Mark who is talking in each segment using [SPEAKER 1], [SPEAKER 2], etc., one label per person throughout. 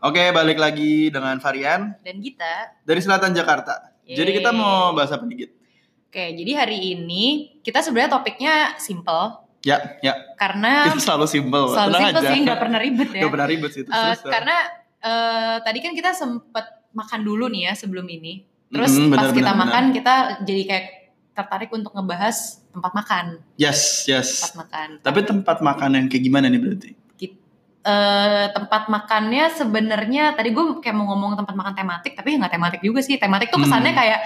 [SPEAKER 1] Oke, balik lagi dengan Varian
[SPEAKER 2] dan Gita.
[SPEAKER 1] dari Selatan Jakarta. Jadi kita mau bahas apa dikit?
[SPEAKER 2] Oke, jadi hari ini kita sebenarnya topiknya simple
[SPEAKER 1] Ya, ya.
[SPEAKER 2] karena
[SPEAKER 1] Itu selalu simpel, Wak.
[SPEAKER 2] soal
[SPEAKER 1] tenang
[SPEAKER 2] simple
[SPEAKER 1] aja.
[SPEAKER 2] sih nggak pernah ribet ya.
[SPEAKER 1] Nggak pernah ribet sih itu.
[SPEAKER 2] Eh,
[SPEAKER 1] susah.
[SPEAKER 2] karena eh, tadi kan kita sempet makan dulu nih ya sebelum ini. Terus
[SPEAKER 1] Mm-mm,
[SPEAKER 2] pas
[SPEAKER 1] benar,
[SPEAKER 2] kita
[SPEAKER 1] benar,
[SPEAKER 2] makan kita jadi kayak tertarik untuk ngebahas tempat makan,
[SPEAKER 1] Yes,
[SPEAKER 2] tempat
[SPEAKER 1] yes.
[SPEAKER 2] makan.
[SPEAKER 1] Tapi tempat makanan kayak gimana nih berarti?
[SPEAKER 2] Eh, tempat makannya sebenarnya tadi gue kayak mau ngomong tempat makan tematik tapi ya nggak tematik juga sih tematik tuh kesannya
[SPEAKER 1] Hmm.
[SPEAKER 2] kayak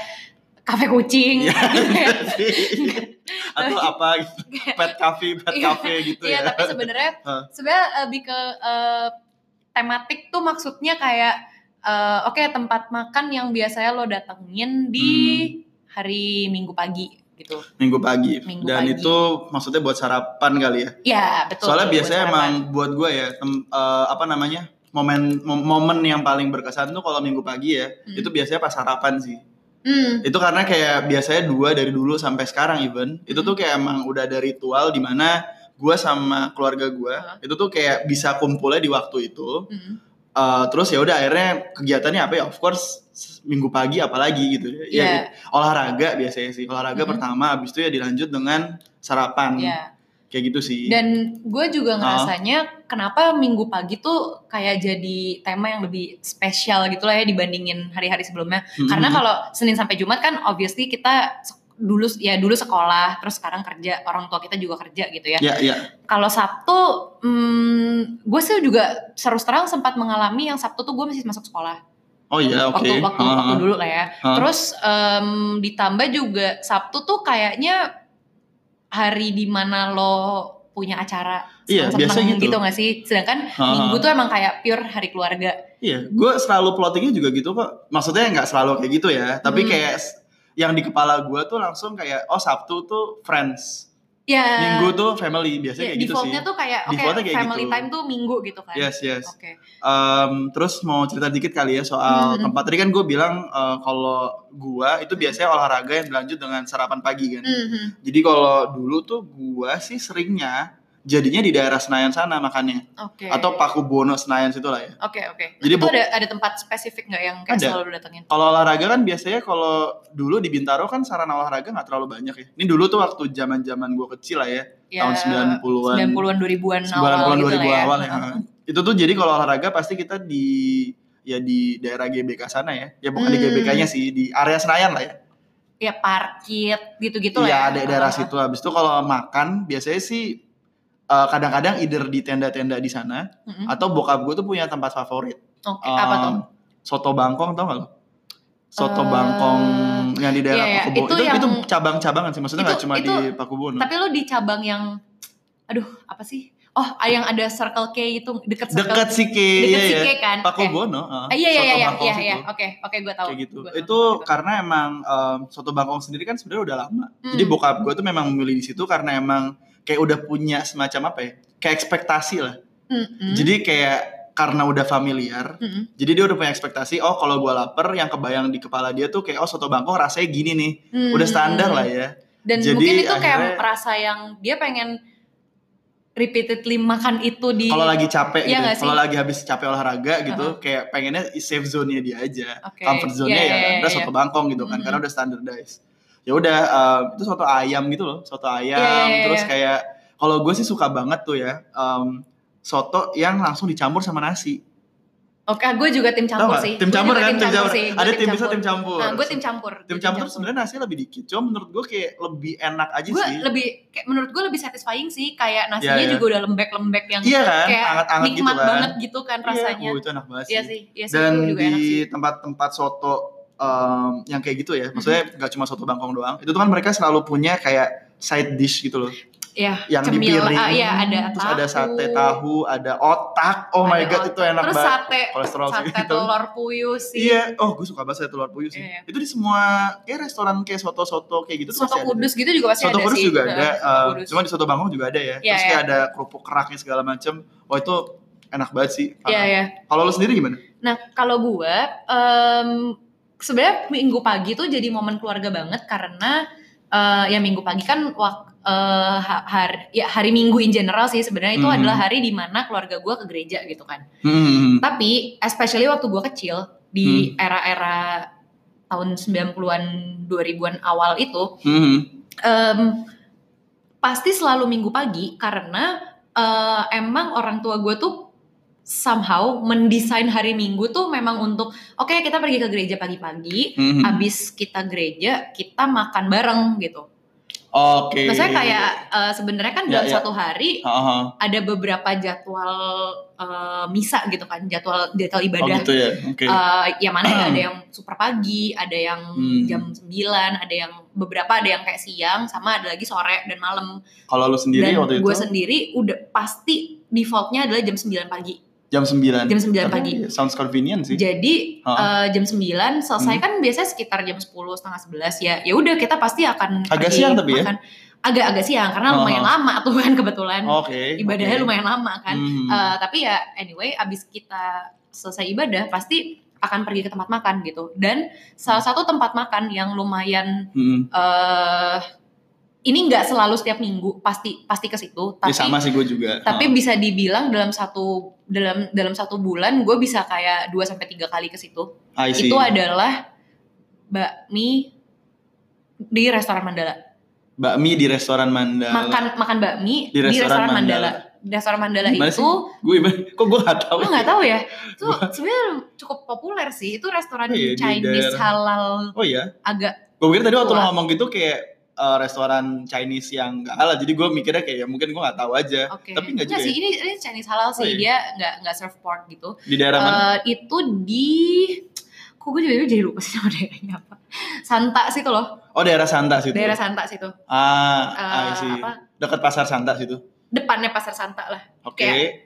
[SPEAKER 2] kafe kucing
[SPEAKER 1] Ya, Atau apa gitu? Pet cafe, pet
[SPEAKER 2] Iya.
[SPEAKER 1] cafe gitu ya.
[SPEAKER 2] Iya, tapi sebenarnya
[SPEAKER 1] Hah.
[SPEAKER 2] sebenarnya lebih ke eh, tematik tuh maksudnya kayak eh, oke tempat makan yang biasanya lo datengin di
[SPEAKER 1] Hmm.
[SPEAKER 2] hari Minggu pagi gitu.
[SPEAKER 1] Minggu pagi.
[SPEAKER 2] Minggu
[SPEAKER 1] Dan
[SPEAKER 2] pagi.
[SPEAKER 1] itu maksudnya buat sarapan kali ya.
[SPEAKER 2] Ya, betul.
[SPEAKER 1] Soalnya
[SPEAKER 2] Buat
[SPEAKER 1] biasanya
[SPEAKER 2] sarapan.
[SPEAKER 1] emang buat gue ya, tem- eh, apa namanya? momen mom- momen yang paling berkesan tuh kalau minggu pagi ya
[SPEAKER 2] Hmm.
[SPEAKER 1] itu biasanya pas sarapan sih
[SPEAKER 2] Hmm,
[SPEAKER 1] itu karena kayak biasanya dua dari dulu sampai sekarang even itu
[SPEAKER 2] Mm-hmm.
[SPEAKER 1] tuh kayak emang udah ada ritual di mana gue sama keluarga gue
[SPEAKER 2] Hah?
[SPEAKER 1] itu tuh kayak bisa kumpulnya di waktu itu
[SPEAKER 2] hmm.
[SPEAKER 1] Uh, terus ya udah akhirnya kegiatannya apa ya of course s- minggu pagi apalagi gitu ya
[SPEAKER 2] Iya.
[SPEAKER 1] Ya, olahraga biasanya sih olahraga
[SPEAKER 2] Mhm.
[SPEAKER 1] pertama abis itu ya dilanjut dengan sarapan
[SPEAKER 2] Ya.
[SPEAKER 1] kayak gitu sih
[SPEAKER 2] Dan gue juga
[SPEAKER 1] Ah.
[SPEAKER 2] ngerasanya kenapa Minggu pagi tuh kayak jadi tema yang lebih spesial gitu lah ya dibandingin hari-hari sebelumnya.
[SPEAKER 1] Mhm.
[SPEAKER 2] Karena kalau Senin sampai Jumat kan obviously kita se- dulu ya dulu sekolah, terus sekarang kerja, orang tua kita juga kerja gitu ya.
[SPEAKER 1] ya ya
[SPEAKER 2] Kalau Sabtu, hmm, gue sih juga terus terang sempat mengalami yang Sabtu tuh gue masih masuk sekolah
[SPEAKER 1] oh ya oke
[SPEAKER 2] waktu waktu,
[SPEAKER 1] Ah,
[SPEAKER 2] waktu
[SPEAKER 1] ah,
[SPEAKER 2] dulu lah ya.
[SPEAKER 1] ah.
[SPEAKER 2] Terus em, ditambah juga Sabtu tuh kayaknya hari dimana lo punya acara
[SPEAKER 1] Iya, biasanya
[SPEAKER 2] seneng-seneng
[SPEAKER 1] gitu.
[SPEAKER 2] gitu gak sih? Sedangkan
[SPEAKER 1] Ah, ah.
[SPEAKER 2] Minggu tuh emang kayak pure hari keluarga.
[SPEAKER 1] iya gue selalu plottingnya juga gitu kok maksudnya nggak selalu kayak gitu ya tapi
[SPEAKER 2] Hmm.
[SPEAKER 1] kayak s- yang di kepala gue tuh langsung kayak oh sabtu tuh friends
[SPEAKER 2] Ya.
[SPEAKER 1] minggu tuh family biasanya
[SPEAKER 2] ya,
[SPEAKER 1] kayak gitu sih
[SPEAKER 2] defaultnya tuh kayak oke
[SPEAKER 1] Defaultnya kayak
[SPEAKER 2] family
[SPEAKER 1] gitu. Iya,
[SPEAKER 2] time tuh Minggu gitu kan.
[SPEAKER 1] yes yes
[SPEAKER 2] Oke.
[SPEAKER 1] Em, terus mau cerita dikit kali ya soal
[SPEAKER 2] Hmm.
[SPEAKER 1] tempat tadi kan gue bilang eh, kalau gua itu biasanya olahraga yang berlanjut dengan sarapan pagi kan.
[SPEAKER 2] Mhm.
[SPEAKER 1] Jadi kalau dulu tuh gua sih seringnya jadinya di daerah Senayan sana makannya
[SPEAKER 2] Oke.
[SPEAKER 1] atau Paku Bono Senayan situ lah ya.
[SPEAKER 2] Oke oke. Jadi
[SPEAKER 1] Jadi
[SPEAKER 2] itu
[SPEAKER 1] bu-
[SPEAKER 2] ada ada tempat spesifik nggak yang kayak
[SPEAKER 1] Ada.
[SPEAKER 2] selalu datengin?
[SPEAKER 1] Kalau olahraga kan biasanya kalau dulu di Bintaro kan sarana olahraga nggak terlalu banyak ya. Ini dulu tuh waktu zaman-zaman gua kecil lah ya,
[SPEAKER 2] Ya,
[SPEAKER 1] tahun 90-an.
[SPEAKER 2] 90-an 2000-an awal
[SPEAKER 1] 90-an
[SPEAKER 2] gitu
[SPEAKER 1] 2000
[SPEAKER 2] lah ya.
[SPEAKER 1] awal ya. Itu tuh jadi kalau olahraga pasti kita di ya di daerah GBK sana ya. Ya bukan di
[SPEAKER 2] Hmm.
[SPEAKER 1] GBK-nya sih, di area Senayan lah ya.
[SPEAKER 2] Ya parkit gitu-gitu lah ya.
[SPEAKER 1] Iya, ada daerah
[SPEAKER 2] Ah.
[SPEAKER 1] situ. Habis itu kalau makan biasanya sih eh, kadang-kadang either di tenda-tenda di sana
[SPEAKER 2] Mhm.
[SPEAKER 1] atau bokap gue tuh punya tempat favorit.
[SPEAKER 2] Oke, apa tuh?
[SPEAKER 1] Em, Soto Bangkong tau gak lo? Soto
[SPEAKER 2] Eh,
[SPEAKER 1] Bangkong yang di daerah
[SPEAKER 2] iya, iya.
[SPEAKER 1] Pakubono.
[SPEAKER 2] Itu
[SPEAKER 1] Itu, itu,
[SPEAKER 2] yang-
[SPEAKER 1] cabang-cabangan sih, maksudnya nggak
[SPEAKER 2] Itu-
[SPEAKER 1] cuma di
[SPEAKER 2] itu-
[SPEAKER 1] Pakubono.
[SPEAKER 2] Tapi lo di cabang yang aduh, apa sih? Oh, yang ada Circle K itu deket Circle
[SPEAKER 1] Dekat sih ke,
[SPEAKER 2] deket
[SPEAKER 1] iya
[SPEAKER 2] si K
[SPEAKER 1] iya.
[SPEAKER 2] kan? Oke.
[SPEAKER 1] Pakubono, eh,
[SPEAKER 2] Ah, iya iya
[SPEAKER 1] Soto
[SPEAKER 2] iya
[SPEAKER 1] Bangkong
[SPEAKER 2] iya
[SPEAKER 1] situ.
[SPEAKER 2] iya. Oke, oke gue tahu.
[SPEAKER 1] kayak gitu.
[SPEAKER 2] Gua tahu
[SPEAKER 1] itu
[SPEAKER 2] gitu.
[SPEAKER 1] karena emang em, soto bangkong sendiri kan sebenarnya udah lama.
[SPEAKER 2] Hmm.
[SPEAKER 1] Jadi bokap gue tuh memang memilih di situ karena emang kayak udah punya semacam apa ya? Kayak ekspektasi lah.
[SPEAKER 2] Mm-mm.
[SPEAKER 1] Jadi kayak karena udah familiar,
[SPEAKER 2] Mm-mm.
[SPEAKER 1] jadi dia udah punya ekspektasi. Oh kalau gue lapar, yang kebayang di kepala dia tuh kayak oh soto bangkong rasanya gini nih.
[SPEAKER 2] Mhm.
[SPEAKER 1] Udah
[SPEAKER 2] Hmm.
[SPEAKER 1] standar lah ya.
[SPEAKER 2] Dan
[SPEAKER 1] Jadi
[SPEAKER 2] mungkin itu kayak
[SPEAKER 1] akhirnya-
[SPEAKER 2] rasa yang dia pengen repeatedly makan itu di
[SPEAKER 1] Kalau lagi capek
[SPEAKER 2] Iya
[SPEAKER 1] gitu,
[SPEAKER 2] nggak sih? Uh-huh.
[SPEAKER 1] kalau lagi habis capek olahraga gitu, kayak pengennya safe zone-nya dia aja.
[SPEAKER 2] Oke.
[SPEAKER 1] Comfort zone-nya
[SPEAKER 2] Iya,
[SPEAKER 1] ya,
[SPEAKER 2] iya,
[SPEAKER 1] kan? udah
[SPEAKER 2] iya.
[SPEAKER 1] soto bangkong gitu kan, karena udah standardized. Ya udah, em, itu soto ayam gitu loh, soto ayam.
[SPEAKER 2] Iya, iya, iya,
[SPEAKER 1] terus
[SPEAKER 2] iya.
[SPEAKER 1] kayak, kalau gue sih suka banget tuh ya, em, soto yang langsung dicampur sama nasi.
[SPEAKER 2] Oke, gue juga tim
[SPEAKER 1] Tau
[SPEAKER 2] campur
[SPEAKER 1] nggak?
[SPEAKER 2] sih.
[SPEAKER 1] Tim
[SPEAKER 2] Gua
[SPEAKER 1] campur
[SPEAKER 2] juga
[SPEAKER 1] kan, tim campur.
[SPEAKER 2] sih. Gua
[SPEAKER 1] Ada tim bisa tim campur.
[SPEAKER 2] Nah, gue tim campur.
[SPEAKER 1] Tim campur sebenarnya nasi lebih dikit, cuma menurut gue kayak lebih enak aja
[SPEAKER 2] Gue
[SPEAKER 1] sih.
[SPEAKER 2] lebih kayak menurut gue lebih satisfying sih kayak nasinya
[SPEAKER 1] Iya, iya.
[SPEAKER 2] juga udah lembek-lembek yang
[SPEAKER 1] Iya kan,
[SPEAKER 2] kayak
[SPEAKER 1] anget-anget gitu
[SPEAKER 2] nikmat
[SPEAKER 1] kan.
[SPEAKER 2] banget gitu kan
[SPEAKER 1] Iya,
[SPEAKER 2] rasanya.
[SPEAKER 1] oh, itu enak banget
[SPEAKER 2] Iya sih, iya sih itu
[SPEAKER 1] dan
[SPEAKER 2] juga enak sih.
[SPEAKER 1] di tempat-tempat soto em, yang kayak gitu ya maksudnya
[SPEAKER 2] Mm-hmm.
[SPEAKER 1] nggak cuma soto bangkong doang itu tuh kan mereka selalu punya kayak side dish gitu loh
[SPEAKER 2] Iya,
[SPEAKER 1] yang di
[SPEAKER 2] cemil-
[SPEAKER 1] piring
[SPEAKER 2] ah, iya, ada
[SPEAKER 1] terus ada
[SPEAKER 2] tahu.
[SPEAKER 1] sate tahu ada otak oh my
[SPEAKER 2] Ada
[SPEAKER 1] god itu enak
[SPEAKER 2] Terus
[SPEAKER 1] banget
[SPEAKER 2] sate
[SPEAKER 1] kolesterol sih
[SPEAKER 2] sate
[SPEAKER 1] itu
[SPEAKER 2] telur puyuh sih.
[SPEAKER 1] gitu. iya oh gue suka banget sate telur puyuh sih
[SPEAKER 2] Iya.
[SPEAKER 1] itu di semua kayak restoran kayak soto-soto kayak gitu tuh
[SPEAKER 2] Soto
[SPEAKER 1] masih ada.
[SPEAKER 2] kudus gitu juga pasti
[SPEAKER 1] soto
[SPEAKER 2] ada
[SPEAKER 1] kudus
[SPEAKER 2] sih.
[SPEAKER 1] juga
[SPEAKER 2] Heeh,
[SPEAKER 1] ada eh,
[SPEAKER 2] soto
[SPEAKER 1] em,
[SPEAKER 2] kudus.
[SPEAKER 1] cuma di soto bangkong juga ada ya
[SPEAKER 2] Iya,
[SPEAKER 1] terus kayak
[SPEAKER 2] iya.
[SPEAKER 1] ada kerupuk keraknya segala macem oh itu enak banget sih
[SPEAKER 2] Iya,
[SPEAKER 1] parah.
[SPEAKER 2] iya.
[SPEAKER 1] kalau lo sendiri gimana
[SPEAKER 2] Nah, kalau gue em sebenarnya minggu pagi tuh jadi momen keluarga banget karena eh, ya minggu pagi kan wak- eh, ha- hari ya hari Minggu in general sih sebenarnya itu
[SPEAKER 1] Mhm.
[SPEAKER 2] adalah hari di mana keluarga gue ke gereja gitu kan.
[SPEAKER 1] Hmm.
[SPEAKER 2] Tapi especially waktu gue kecil di era-era tahun 90-an 2000-an awal itu
[SPEAKER 1] Hmm.
[SPEAKER 2] em, pasti selalu Minggu pagi karena eh, emang orang tua gue tuh somehow mendesain hari Minggu tuh memang untuk oke kita pergi ke gereja pagi-pagi,
[SPEAKER 1] Hmm.
[SPEAKER 2] habis kita gereja kita makan bareng gitu.
[SPEAKER 1] Oke.
[SPEAKER 2] Maksudnya kayak eh, sebenarnya kan
[SPEAKER 1] Ya,
[SPEAKER 2] dalam
[SPEAKER 1] ya.
[SPEAKER 2] satu hari
[SPEAKER 1] Aha.
[SPEAKER 2] ada beberapa jadwal eh, misa gitu kan, jadwal jadwal
[SPEAKER 1] Oh
[SPEAKER 2] ibadah
[SPEAKER 1] gitu ya. Oke.
[SPEAKER 2] Eh, ya mana ya, ada yang super pagi, ada yang
[SPEAKER 1] Hmm.
[SPEAKER 2] jam 9, ada yang beberapa ada yang kayak siang, sama ada lagi sore dan malam.
[SPEAKER 1] Kalau lu sendiri
[SPEAKER 2] dan
[SPEAKER 1] waktu itu
[SPEAKER 2] gue sendiri udah pasti defaultnya adalah jam 9 pagi.
[SPEAKER 1] jam 9.
[SPEAKER 2] Jam
[SPEAKER 1] Tapi
[SPEAKER 2] 9 pagi.
[SPEAKER 1] Sounds convenient sih.
[SPEAKER 2] Jadi
[SPEAKER 1] Ha.
[SPEAKER 2] eh, jam 9
[SPEAKER 1] Hmm.
[SPEAKER 2] selesai kan biasanya sekitar jam 10 setengah 11 ya. Ya udah kita pasti akan
[SPEAKER 1] Agak
[SPEAKER 2] pergi
[SPEAKER 1] siang tapi ya?
[SPEAKER 2] makan. Agak-agak siang karena
[SPEAKER 1] Ha,
[SPEAKER 2] lumayan
[SPEAKER 1] ha.
[SPEAKER 2] lama tuh kan kebetulan.
[SPEAKER 1] Oh, Oke.
[SPEAKER 2] Ibadahnya
[SPEAKER 1] oke.
[SPEAKER 2] lumayan lama kan.
[SPEAKER 1] Hmm.
[SPEAKER 2] Eh, tapi ya anyway abis kita selesai ibadah pasti akan pergi ke tempat makan gitu dan salah satu tempat makan yang lumayan
[SPEAKER 1] Hmm.
[SPEAKER 2] eh ini nggak selalu setiap minggu pasti pasti ke situ
[SPEAKER 1] Ya
[SPEAKER 2] tapi
[SPEAKER 1] sama sih gue juga. Ha.
[SPEAKER 2] tapi bisa dibilang dalam satu dalam dalam satu bulan gue bisa kayak 2 sampai tiga kali ke situ
[SPEAKER 1] I see.
[SPEAKER 2] itu adalah bakmi di restoran Mandala
[SPEAKER 1] bakmi di restoran Mandala.
[SPEAKER 2] makan makan bakmi
[SPEAKER 1] Di
[SPEAKER 2] di restoran,
[SPEAKER 1] restoran
[SPEAKER 2] Mandala. Di restoran Mandala
[SPEAKER 1] Gimana
[SPEAKER 2] itu
[SPEAKER 1] sih? Gue kok gue gak tahu.
[SPEAKER 2] Lo nggak tahu ya? Itu sebenarnya cukup populer sih. Itu restoran
[SPEAKER 1] Iya, di
[SPEAKER 2] Chinese
[SPEAKER 1] daerah-
[SPEAKER 2] halal
[SPEAKER 1] Oh iya.
[SPEAKER 2] agak
[SPEAKER 1] Gue pikir tadi waktu lo
[SPEAKER 2] Wah.
[SPEAKER 1] ngomong gitu kayak eh, restoran Chinese yang gak halal. Jadi gue mikirnya kayak ya mungkin gue gak tahu aja.
[SPEAKER 2] oke.
[SPEAKER 1] Tapi nggak juga
[SPEAKER 2] Nggak
[SPEAKER 1] ya?
[SPEAKER 2] sih. Ini, ini Chinese halal sih.
[SPEAKER 1] iya.
[SPEAKER 2] Dia nggak nggak serve pork gitu.
[SPEAKER 1] Di daerah mana?
[SPEAKER 2] Eh, itu di Kok gue jadi, jadi lupa sih nama daerahnya apa Santa situ loh
[SPEAKER 1] Oh daerah Santa situ.
[SPEAKER 2] Eh, Daerah Santa situ
[SPEAKER 1] Ah,
[SPEAKER 2] Eh,
[SPEAKER 1] I see.
[SPEAKER 2] apa?
[SPEAKER 1] Dekat pasar Santa situ.
[SPEAKER 2] Depannya Pasar Santa lah
[SPEAKER 1] Oke.
[SPEAKER 2] Kayak-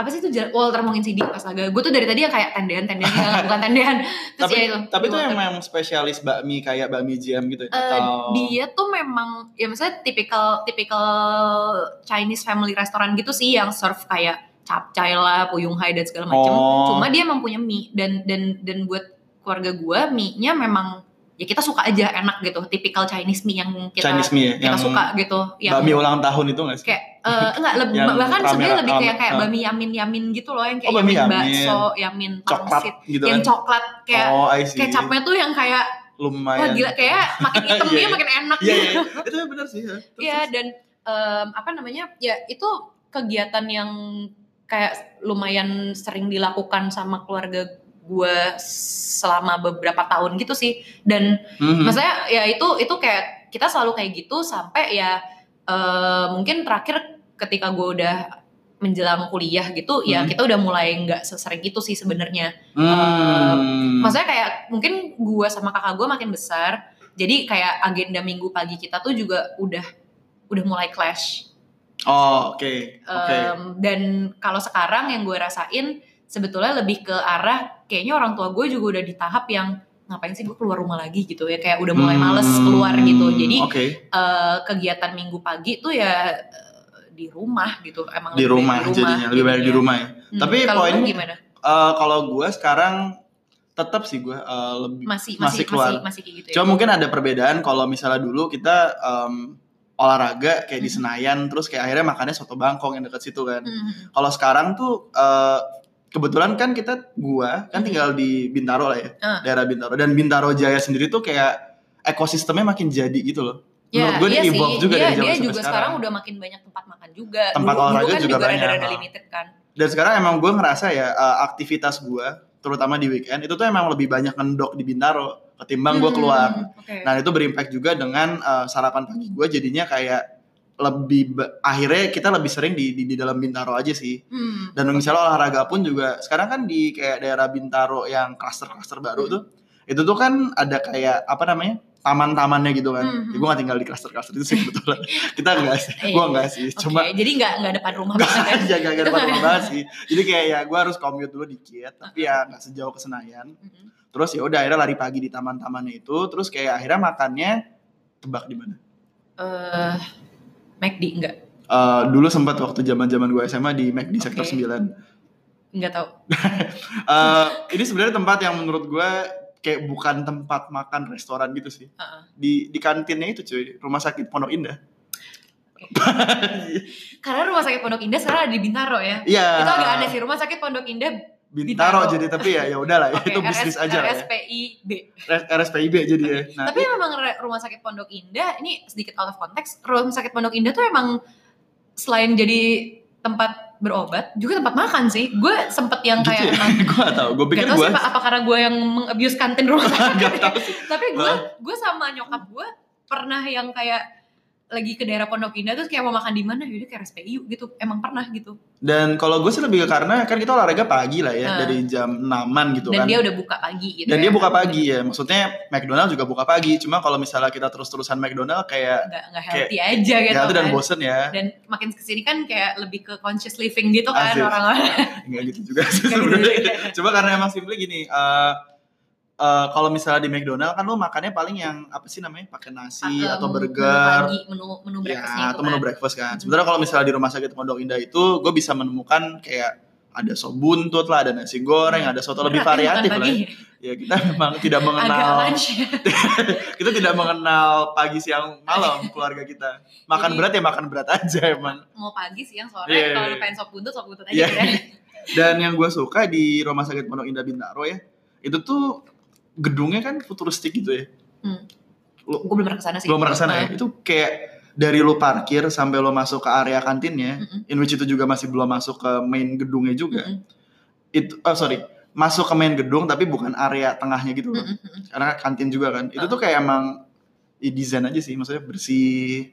[SPEAKER 2] Apa sih itu Jalan- Walter Mongin CD Astaga Gue tuh dari tadi yang kayak tendean-tendean yang Bukan tendean Terus
[SPEAKER 1] Tapi
[SPEAKER 2] ya itu
[SPEAKER 1] tapi itu
[SPEAKER 2] Walter.
[SPEAKER 1] memang spesialis bakmi kayak bakmi jam gitu ya?
[SPEAKER 2] Eh,
[SPEAKER 1] atau
[SPEAKER 2] dia tuh memang ya maksudnya tipikal tipikal Chinese family restoran gitu sih yang serve kayak capcay lah, puyung hai dan segala macam.
[SPEAKER 1] Oh.
[SPEAKER 2] Cuma dia emang punya mie dan dan dan buat keluarga gue mie-nya memang ya kita suka aja enak gitu. Tipikal Chinese mie yang kita
[SPEAKER 1] Chinese mie ya?
[SPEAKER 2] kita
[SPEAKER 1] yang
[SPEAKER 2] suka gitu. Yang
[SPEAKER 1] bakmi ulang tahun itu nggak sih?
[SPEAKER 2] kayak eh, enggak lebih
[SPEAKER 1] Yang
[SPEAKER 2] bahkan
[SPEAKER 1] rame-
[SPEAKER 2] sebenarnya lebih
[SPEAKER 1] rame-
[SPEAKER 2] kayak kayak
[SPEAKER 1] ah.
[SPEAKER 2] bami yamin yamin gitu loh yang kayak
[SPEAKER 1] Oh, bami
[SPEAKER 2] yamin
[SPEAKER 1] yamin.
[SPEAKER 2] bakso, yamin
[SPEAKER 1] Coklat
[SPEAKER 2] pangsit,
[SPEAKER 1] gitu
[SPEAKER 2] yang
[SPEAKER 1] kan?
[SPEAKER 2] coklat kayak
[SPEAKER 1] oh, I see.
[SPEAKER 2] kecapnya tuh yang kayak wah
[SPEAKER 1] Lumayan.
[SPEAKER 2] gila kayak makin hitam
[SPEAKER 1] Iya,
[SPEAKER 2] dia
[SPEAKER 1] iya.
[SPEAKER 2] makin enak gitu.
[SPEAKER 1] Iya, iya. Itu benar sih. ya. Terus,
[SPEAKER 2] Iya
[SPEAKER 1] terus.
[SPEAKER 2] dan em, apa namanya ya itu kegiatan yang kayak lumayan sering dilakukan sama keluarga gue selama beberapa tahun gitu sih dan
[SPEAKER 1] Mhm.
[SPEAKER 2] maksudnya ya itu itu kayak kita selalu kayak gitu sampai ya eh, mungkin terakhir ketika gue udah menjelang kuliah gitu ya
[SPEAKER 1] Hmm.
[SPEAKER 2] kita udah mulai nggak sesering itu sih sebenarnya eh,
[SPEAKER 1] Hmm.
[SPEAKER 2] maksudnya kayak mungkin gua sama kakak gua makin besar jadi kayak agenda minggu pagi kita tuh juga udah udah mulai clash
[SPEAKER 1] Oh, oke. Oke.
[SPEAKER 2] Em, dan kalau sekarang yang gue rasain sebetulnya lebih ke arah kayaknya orang tua gue juga udah di tahap yang ngapain sih gue keluar rumah lagi gitu ya kayak udah mulai males
[SPEAKER 1] Hmm,
[SPEAKER 2] keluar gitu jadi
[SPEAKER 1] Oke.
[SPEAKER 2] eh, kegiatan minggu pagi tuh ya eh, di rumah gitu emang
[SPEAKER 1] Di
[SPEAKER 2] lebih baik
[SPEAKER 1] rumah jadinya lebih banyak di
[SPEAKER 2] jadinya.
[SPEAKER 1] rumah ya.
[SPEAKER 2] Hmm,
[SPEAKER 1] Tapi
[SPEAKER 2] kalau lu
[SPEAKER 1] poinnya-
[SPEAKER 2] gimana
[SPEAKER 1] Eh, kalau gue sekarang tetap sih gue eh, lebih
[SPEAKER 2] masih
[SPEAKER 1] masih
[SPEAKER 2] masih
[SPEAKER 1] keluar.
[SPEAKER 2] masih masih kayak gitu ya
[SPEAKER 1] Iya. Cuma mungkin ada perbedaan kalau misalnya dulu kita em, olahraga kayak di
[SPEAKER 2] Mhm.
[SPEAKER 1] Senayan terus kayak akhirnya makannya soto Bangkong yang dekat situ kan.
[SPEAKER 2] Hmm.
[SPEAKER 1] Kalau sekarang tuh eh, kebetulan kan kita gua kan
[SPEAKER 2] Mhm.
[SPEAKER 1] tinggal di Bintaro lah ya,
[SPEAKER 2] Ah.
[SPEAKER 1] daerah Bintaro dan Bintaro Jaya sendiri tuh kayak ekosistemnya makin jadi gitu loh. Menurut
[SPEAKER 2] Ya,
[SPEAKER 1] gue
[SPEAKER 2] iya
[SPEAKER 1] dia
[SPEAKER 2] sih.
[SPEAKER 1] evolve juga
[SPEAKER 2] dia,
[SPEAKER 1] dari zaman
[SPEAKER 2] dia
[SPEAKER 1] sampai
[SPEAKER 2] juga
[SPEAKER 1] sekarang.
[SPEAKER 2] sekarang udah makin banyak tempat makan juga.
[SPEAKER 1] Tempat
[SPEAKER 2] dulu,
[SPEAKER 1] olahraga
[SPEAKER 2] dulu kan
[SPEAKER 1] juga
[SPEAKER 2] juga
[SPEAKER 1] banyak,
[SPEAKER 2] rada-rada
[SPEAKER 1] ha.
[SPEAKER 2] limited kan.
[SPEAKER 1] Dan sekarang emang gue ngerasa ya eh, aktivitas gua terutama di weekend itu tuh emang lebih banyak ngendok di Bintaro ketimbang gua
[SPEAKER 2] Hmm,
[SPEAKER 1] keluar.
[SPEAKER 2] oke.
[SPEAKER 1] Nah itu berimpact juga dengan eh, sarapan pagi gue jadinya kayak lebih ba- akhirnya kita lebih sering di, di di dalam Bintaro aja sih.
[SPEAKER 2] Hmm,
[SPEAKER 1] Dan misalnya olahraga pun juga sekarang kan di kayak daerah Bintaro yang klaster-klaster baru
[SPEAKER 2] Hmm.
[SPEAKER 1] tuh itu tuh kan ada kayak apa namanya taman-tamannya gitu kan.
[SPEAKER 2] Hmm,
[SPEAKER 1] gue gak tinggal di klaster-klaster itu sih kebetulan. kita enggak sih, gue enggak sih.
[SPEAKER 2] oke.
[SPEAKER 1] Cuma
[SPEAKER 2] jadi nggak nggak depan rumah
[SPEAKER 1] Gak,
[SPEAKER 2] banget
[SPEAKER 1] ya,
[SPEAKER 2] ya.
[SPEAKER 1] gak, gak depan rumah banget sih. Jadi kayak ya gue harus commute dulu dikit, tapi ya gak sejauh ke Senayan
[SPEAKER 2] Mm-mm.
[SPEAKER 1] terus ya udah akhirnya lari pagi di taman-tamannya itu terus kayak akhirnya makannya tebak di mana
[SPEAKER 2] Eh, McD nggak
[SPEAKER 1] Eh, dulu sempat waktu zaman-zaman gue SMA di Mac di sektor
[SPEAKER 2] Oke.
[SPEAKER 1] 9
[SPEAKER 2] nggak tahu.
[SPEAKER 1] Eh, ini sebenarnya tempat yang menurut gue kayak bukan tempat makan restoran gitu sih
[SPEAKER 2] Heeh.
[SPEAKER 1] di di kantinnya itu cuy rumah sakit Pondok Indah
[SPEAKER 2] Karena rumah sakit Pondok Indah sekarang ada di Bintaro ya.
[SPEAKER 1] Iya.
[SPEAKER 2] Itu agak aneh sih rumah sakit Pondok Indah.
[SPEAKER 1] Bintaro
[SPEAKER 2] Bintaro.
[SPEAKER 1] jadi tapi ya ya udahlah ya
[SPEAKER 2] oke,
[SPEAKER 1] itu bisnis
[SPEAKER 2] RS
[SPEAKER 1] aja lah ya.
[SPEAKER 2] RSPIB.
[SPEAKER 1] R- RSPIB jadi ya. Nah,
[SPEAKER 2] Tapi memang re- rumah sakit Pondok Indah ini sedikit out of context. Rumah sakit Pondok Indah tuh emang selain jadi tempat berobat, juga tempat makan sih. Gue sempet yang
[SPEAKER 1] gitu
[SPEAKER 2] kayak
[SPEAKER 1] ya.
[SPEAKER 2] emang
[SPEAKER 1] gue gak tau. Gue pikir
[SPEAKER 2] Gak tau
[SPEAKER 1] gue
[SPEAKER 2] sih Pak, apa karena gue yang mengabuse kantin rumah sakit.
[SPEAKER 1] Gak tau.
[SPEAKER 2] Tapi gue gue sama nyokap gue pernah yang kayak lagi ke daerah Pondok Indah terus kayak mau makan di mana yaudah kayak RSPI yuk gitu emang pernah gitu
[SPEAKER 1] Dan kalau gue sih lebih ke karena kan kita olahraga pagi lah ya
[SPEAKER 2] Nah.
[SPEAKER 1] dari jam 6an gitu
[SPEAKER 2] dan
[SPEAKER 1] kan.
[SPEAKER 2] dia udah buka pagi gitu
[SPEAKER 1] Dan
[SPEAKER 2] ya.
[SPEAKER 1] dia buka pagi ya. Maksudnya McDonald juga buka pagi. Cuma kalau misalnya kita terus-terusan McDonald kayak
[SPEAKER 2] nggak nggak healthy aja gitu
[SPEAKER 1] ya itu dan
[SPEAKER 2] kan.
[SPEAKER 1] bosen ya.
[SPEAKER 2] dan makin kesini kan kayak lebih ke conscious living gitu kan
[SPEAKER 1] Asik.
[SPEAKER 2] orang-orang
[SPEAKER 1] Enggak gitu juga sih
[SPEAKER 2] Nggak gitu juga.
[SPEAKER 1] sebenarnya. Cuma karena emang simply gini, eh eh, kalau misalnya di McDonald kan lo makannya paling yang apa sih namanya? Pakai nasi atau
[SPEAKER 2] Menu-
[SPEAKER 1] burger.
[SPEAKER 2] menu pagi menu menu breakfastnya
[SPEAKER 1] ya,
[SPEAKER 2] itu
[SPEAKER 1] atau menu
[SPEAKER 2] kan.
[SPEAKER 1] breakfast kan.
[SPEAKER 2] Mhm.
[SPEAKER 1] Sebenarnya kalau misalnya di rumah sakit Pondok Indah itu, gue bisa menemukan kayak ada sop buntut lah, ada nasi goreng, ada soto lebih
[SPEAKER 2] Berat ya, makan
[SPEAKER 1] variatif lah.
[SPEAKER 2] pagi.
[SPEAKER 1] Ya. Ya, kita memang tidak
[SPEAKER 2] agak
[SPEAKER 1] mengenal
[SPEAKER 2] lunch
[SPEAKER 1] kita tidak mengenal pagi siang malam keluarga kita. Makan
[SPEAKER 2] Jadi-
[SPEAKER 1] berat ya makan berat aja emang.
[SPEAKER 2] mau pagi siang sore
[SPEAKER 1] Iya,
[SPEAKER 2] kalau
[SPEAKER 1] iya.
[SPEAKER 2] lu pengen sop buntut sop buntut
[SPEAKER 1] Iya.
[SPEAKER 2] aja ya
[SPEAKER 1] Dan yang gue suka di rumah sakit Pondok Indah Bintaro ya, itu tuh gedungnya kan futuristik gitu ya.
[SPEAKER 2] gue belum pernah kesana sih
[SPEAKER 1] Belum pernah kesana
[SPEAKER 2] Iya.
[SPEAKER 1] ya. Itu kayak dari lu parkir sampai lu masuk ke area kantinnya,
[SPEAKER 2] Mm-mm.
[SPEAKER 1] in which itu juga masih belum masuk ke main gedungnya juga.
[SPEAKER 2] Mm-mm.
[SPEAKER 1] Itu, oh sorry, masuk ke main gedung tapi bukan area tengahnya gitu loh.
[SPEAKER 2] Mm-mm, mm-mm.
[SPEAKER 1] Karena kantin juga kan. Itu
[SPEAKER 2] Uh-uh.
[SPEAKER 1] tuh kayak emang ya, desain aja sih, maksudnya bersih.
[SPEAKER 2] ya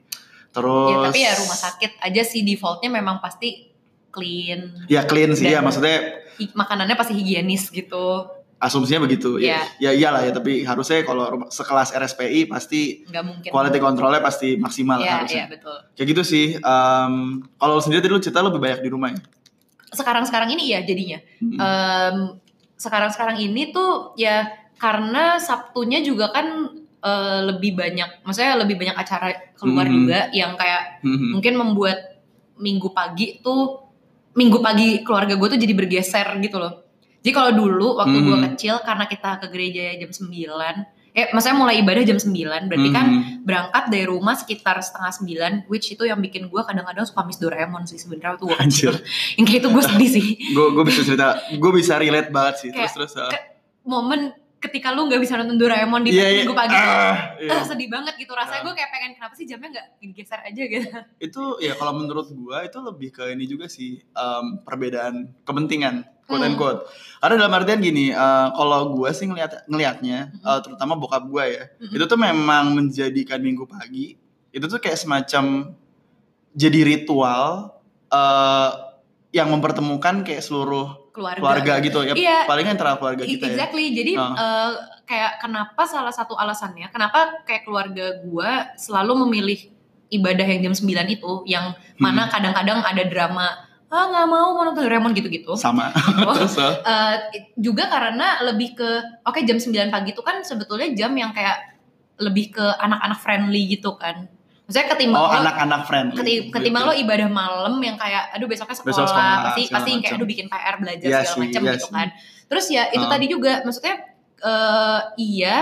[SPEAKER 1] Terus
[SPEAKER 2] tapi ya rumah sakit aja sih defaultnya memang pasti clean
[SPEAKER 1] Ya clean sih ya,
[SPEAKER 2] Dan-
[SPEAKER 1] maksudnya
[SPEAKER 2] Hi- makanannya pasti higienis gitu
[SPEAKER 1] asumsinya begitu. Ya, ya
[SPEAKER 2] Iya.
[SPEAKER 1] iyalah ya, tapi harusnya kalau rumah- sekelas RSPI pasti
[SPEAKER 2] nggak mungkin
[SPEAKER 1] quality controlnya pasti maksimal
[SPEAKER 2] ya
[SPEAKER 1] harusnya.
[SPEAKER 2] ya betul
[SPEAKER 1] Kayak gitu sih. em, kalau lu sendiri tadi lu cerita lebih banyak di rumah ya.
[SPEAKER 2] Eh, sekarang sekarang ini ya jadinya
[SPEAKER 1] Hmm.
[SPEAKER 2] Em, sekarang-sekarang ini tuh ya karena Sabtunya juga kan eh, lebih banyak, maksudnya lebih banyak acara
[SPEAKER 1] Mhm.
[SPEAKER 2] keluar juga yang kayak
[SPEAKER 1] Hmm.
[SPEAKER 2] mungkin membuat minggu pagi tuh minggu pagi keluarga gue tuh jadi bergeser gitu loh. Jadi kalau dulu waktu gue
[SPEAKER 1] Mhm.
[SPEAKER 2] kecil karena kita ke gereja jam 9 eh maksudnya mulai ibadah jam 9 berarti kan
[SPEAKER 1] Hmm.
[SPEAKER 2] berangkat dari rumah sekitar setengah sembilan which itu yang bikin gue kadang-kadang suka miss Doraemon sih sebenarnya tuh gue kecil. yang kayak itu gue sedih sih.
[SPEAKER 1] gue gue bisa cerita gue bisa relate banget sih
[SPEAKER 2] Kayak-
[SPEAKER 1] terus terus uh,
[SPEAKER 2] momen ketika lu nggak bisa nonton Doraemon di
[SPEAKER 1] iya, iya.
[SPEAKER 2] minggu pagi tuh,
[SPEAKER 1] Ah, iya.
[SPEAKER 2] ah, sedih banget gitu rasanya
[SPEAKER 1] Ah.
[SPEAKER 2] gue kayak pengen kenapa sih jamnya nggak digeser aja gitu
[SPEAKER 1] itu ya kalau menurut gue itu lebih ke ini juga sih em, perbedaan kepentingan
[SPEAKER 2] Hmm.
[SPEAKER 1] quote and quote karena dalam artian gini eh, kalau gue sih ngelihat ngelihatnya
[SPEAKER 2] Mhm.
[SPEAKER 1] eh, terutama bokap gue ya
[SPEAKER 2] Mhm.
[SPEAKER 1] itu tuh memang menjadikan minggu pagi itu tuh kayak semacam jadi ritual eh, yang mempertemukan kayak seluruh
[SPEAKER 2] keluarga,
[SPEAKER 1] keluarga gitu ya
[SPEAKER 2] Iya.
[SPEAKER 1] paling antara keluarga
[SPEAKER 2] I-
[SPEAKER 1] kita ya
[SPEAKER 2] exactly jadi
[SPEAKER 1] Ah.
[SPEAKER 2] eh, kayak kenapa salah satu alasannya kenapa kayak keluarga gue selalu memilih ibadah yang jam 9 itu yang mana
[SPEAKER 1] Hmm.
[SPEAKER 2] kadang-kadang ada drama ah nggak mau mau nonton Doraemon gitu-gitu
[SPEAKER 1] Hmm. sama
[SPEAKER 2] Oh.
[SPEAKER 1] terus eh,
[SPEAKER 2] Eh, juga karena lebih ke oke jam 9 pagi itu kan sebetulnya jam yang kayak lebih ke anak-anak friendly gitu kan maksudnya ketimbang
[SPEAKER 1] oh
[SPEAKER 2] lo-
[SPEAKER 1] anak-anak friend
[SPEAKER 2] Keti- ketimbang lo ibadah malam yang kayak aduh besoknya
[SPEAKER 1] Gitu.
[SPEAKER 2] sekolah,
[SPEAKER 1] Besok sekolah,
[SPEAKER 2] pasti
[SPEAKER 1] segala
[SPEAKER 2] pasti yang kayak
[SPEAKER 1] macam.
[SPEAKER 2] aduh bikin PR belajar
[SPEAKER 1] Iya
[SPEAKER 2] segala
[SPEAKER 1] sih,
[SPEAKER 2] macam
[SPEAKER 1] iya
[SPEAKER 2] gitu
[SPEAKER 1] sih.
[SPEAKER 2] kan. Terus ya itu
[SPEAKER 1] Ah.
[SPEAKER 2] tadi juga maksudnya eh iya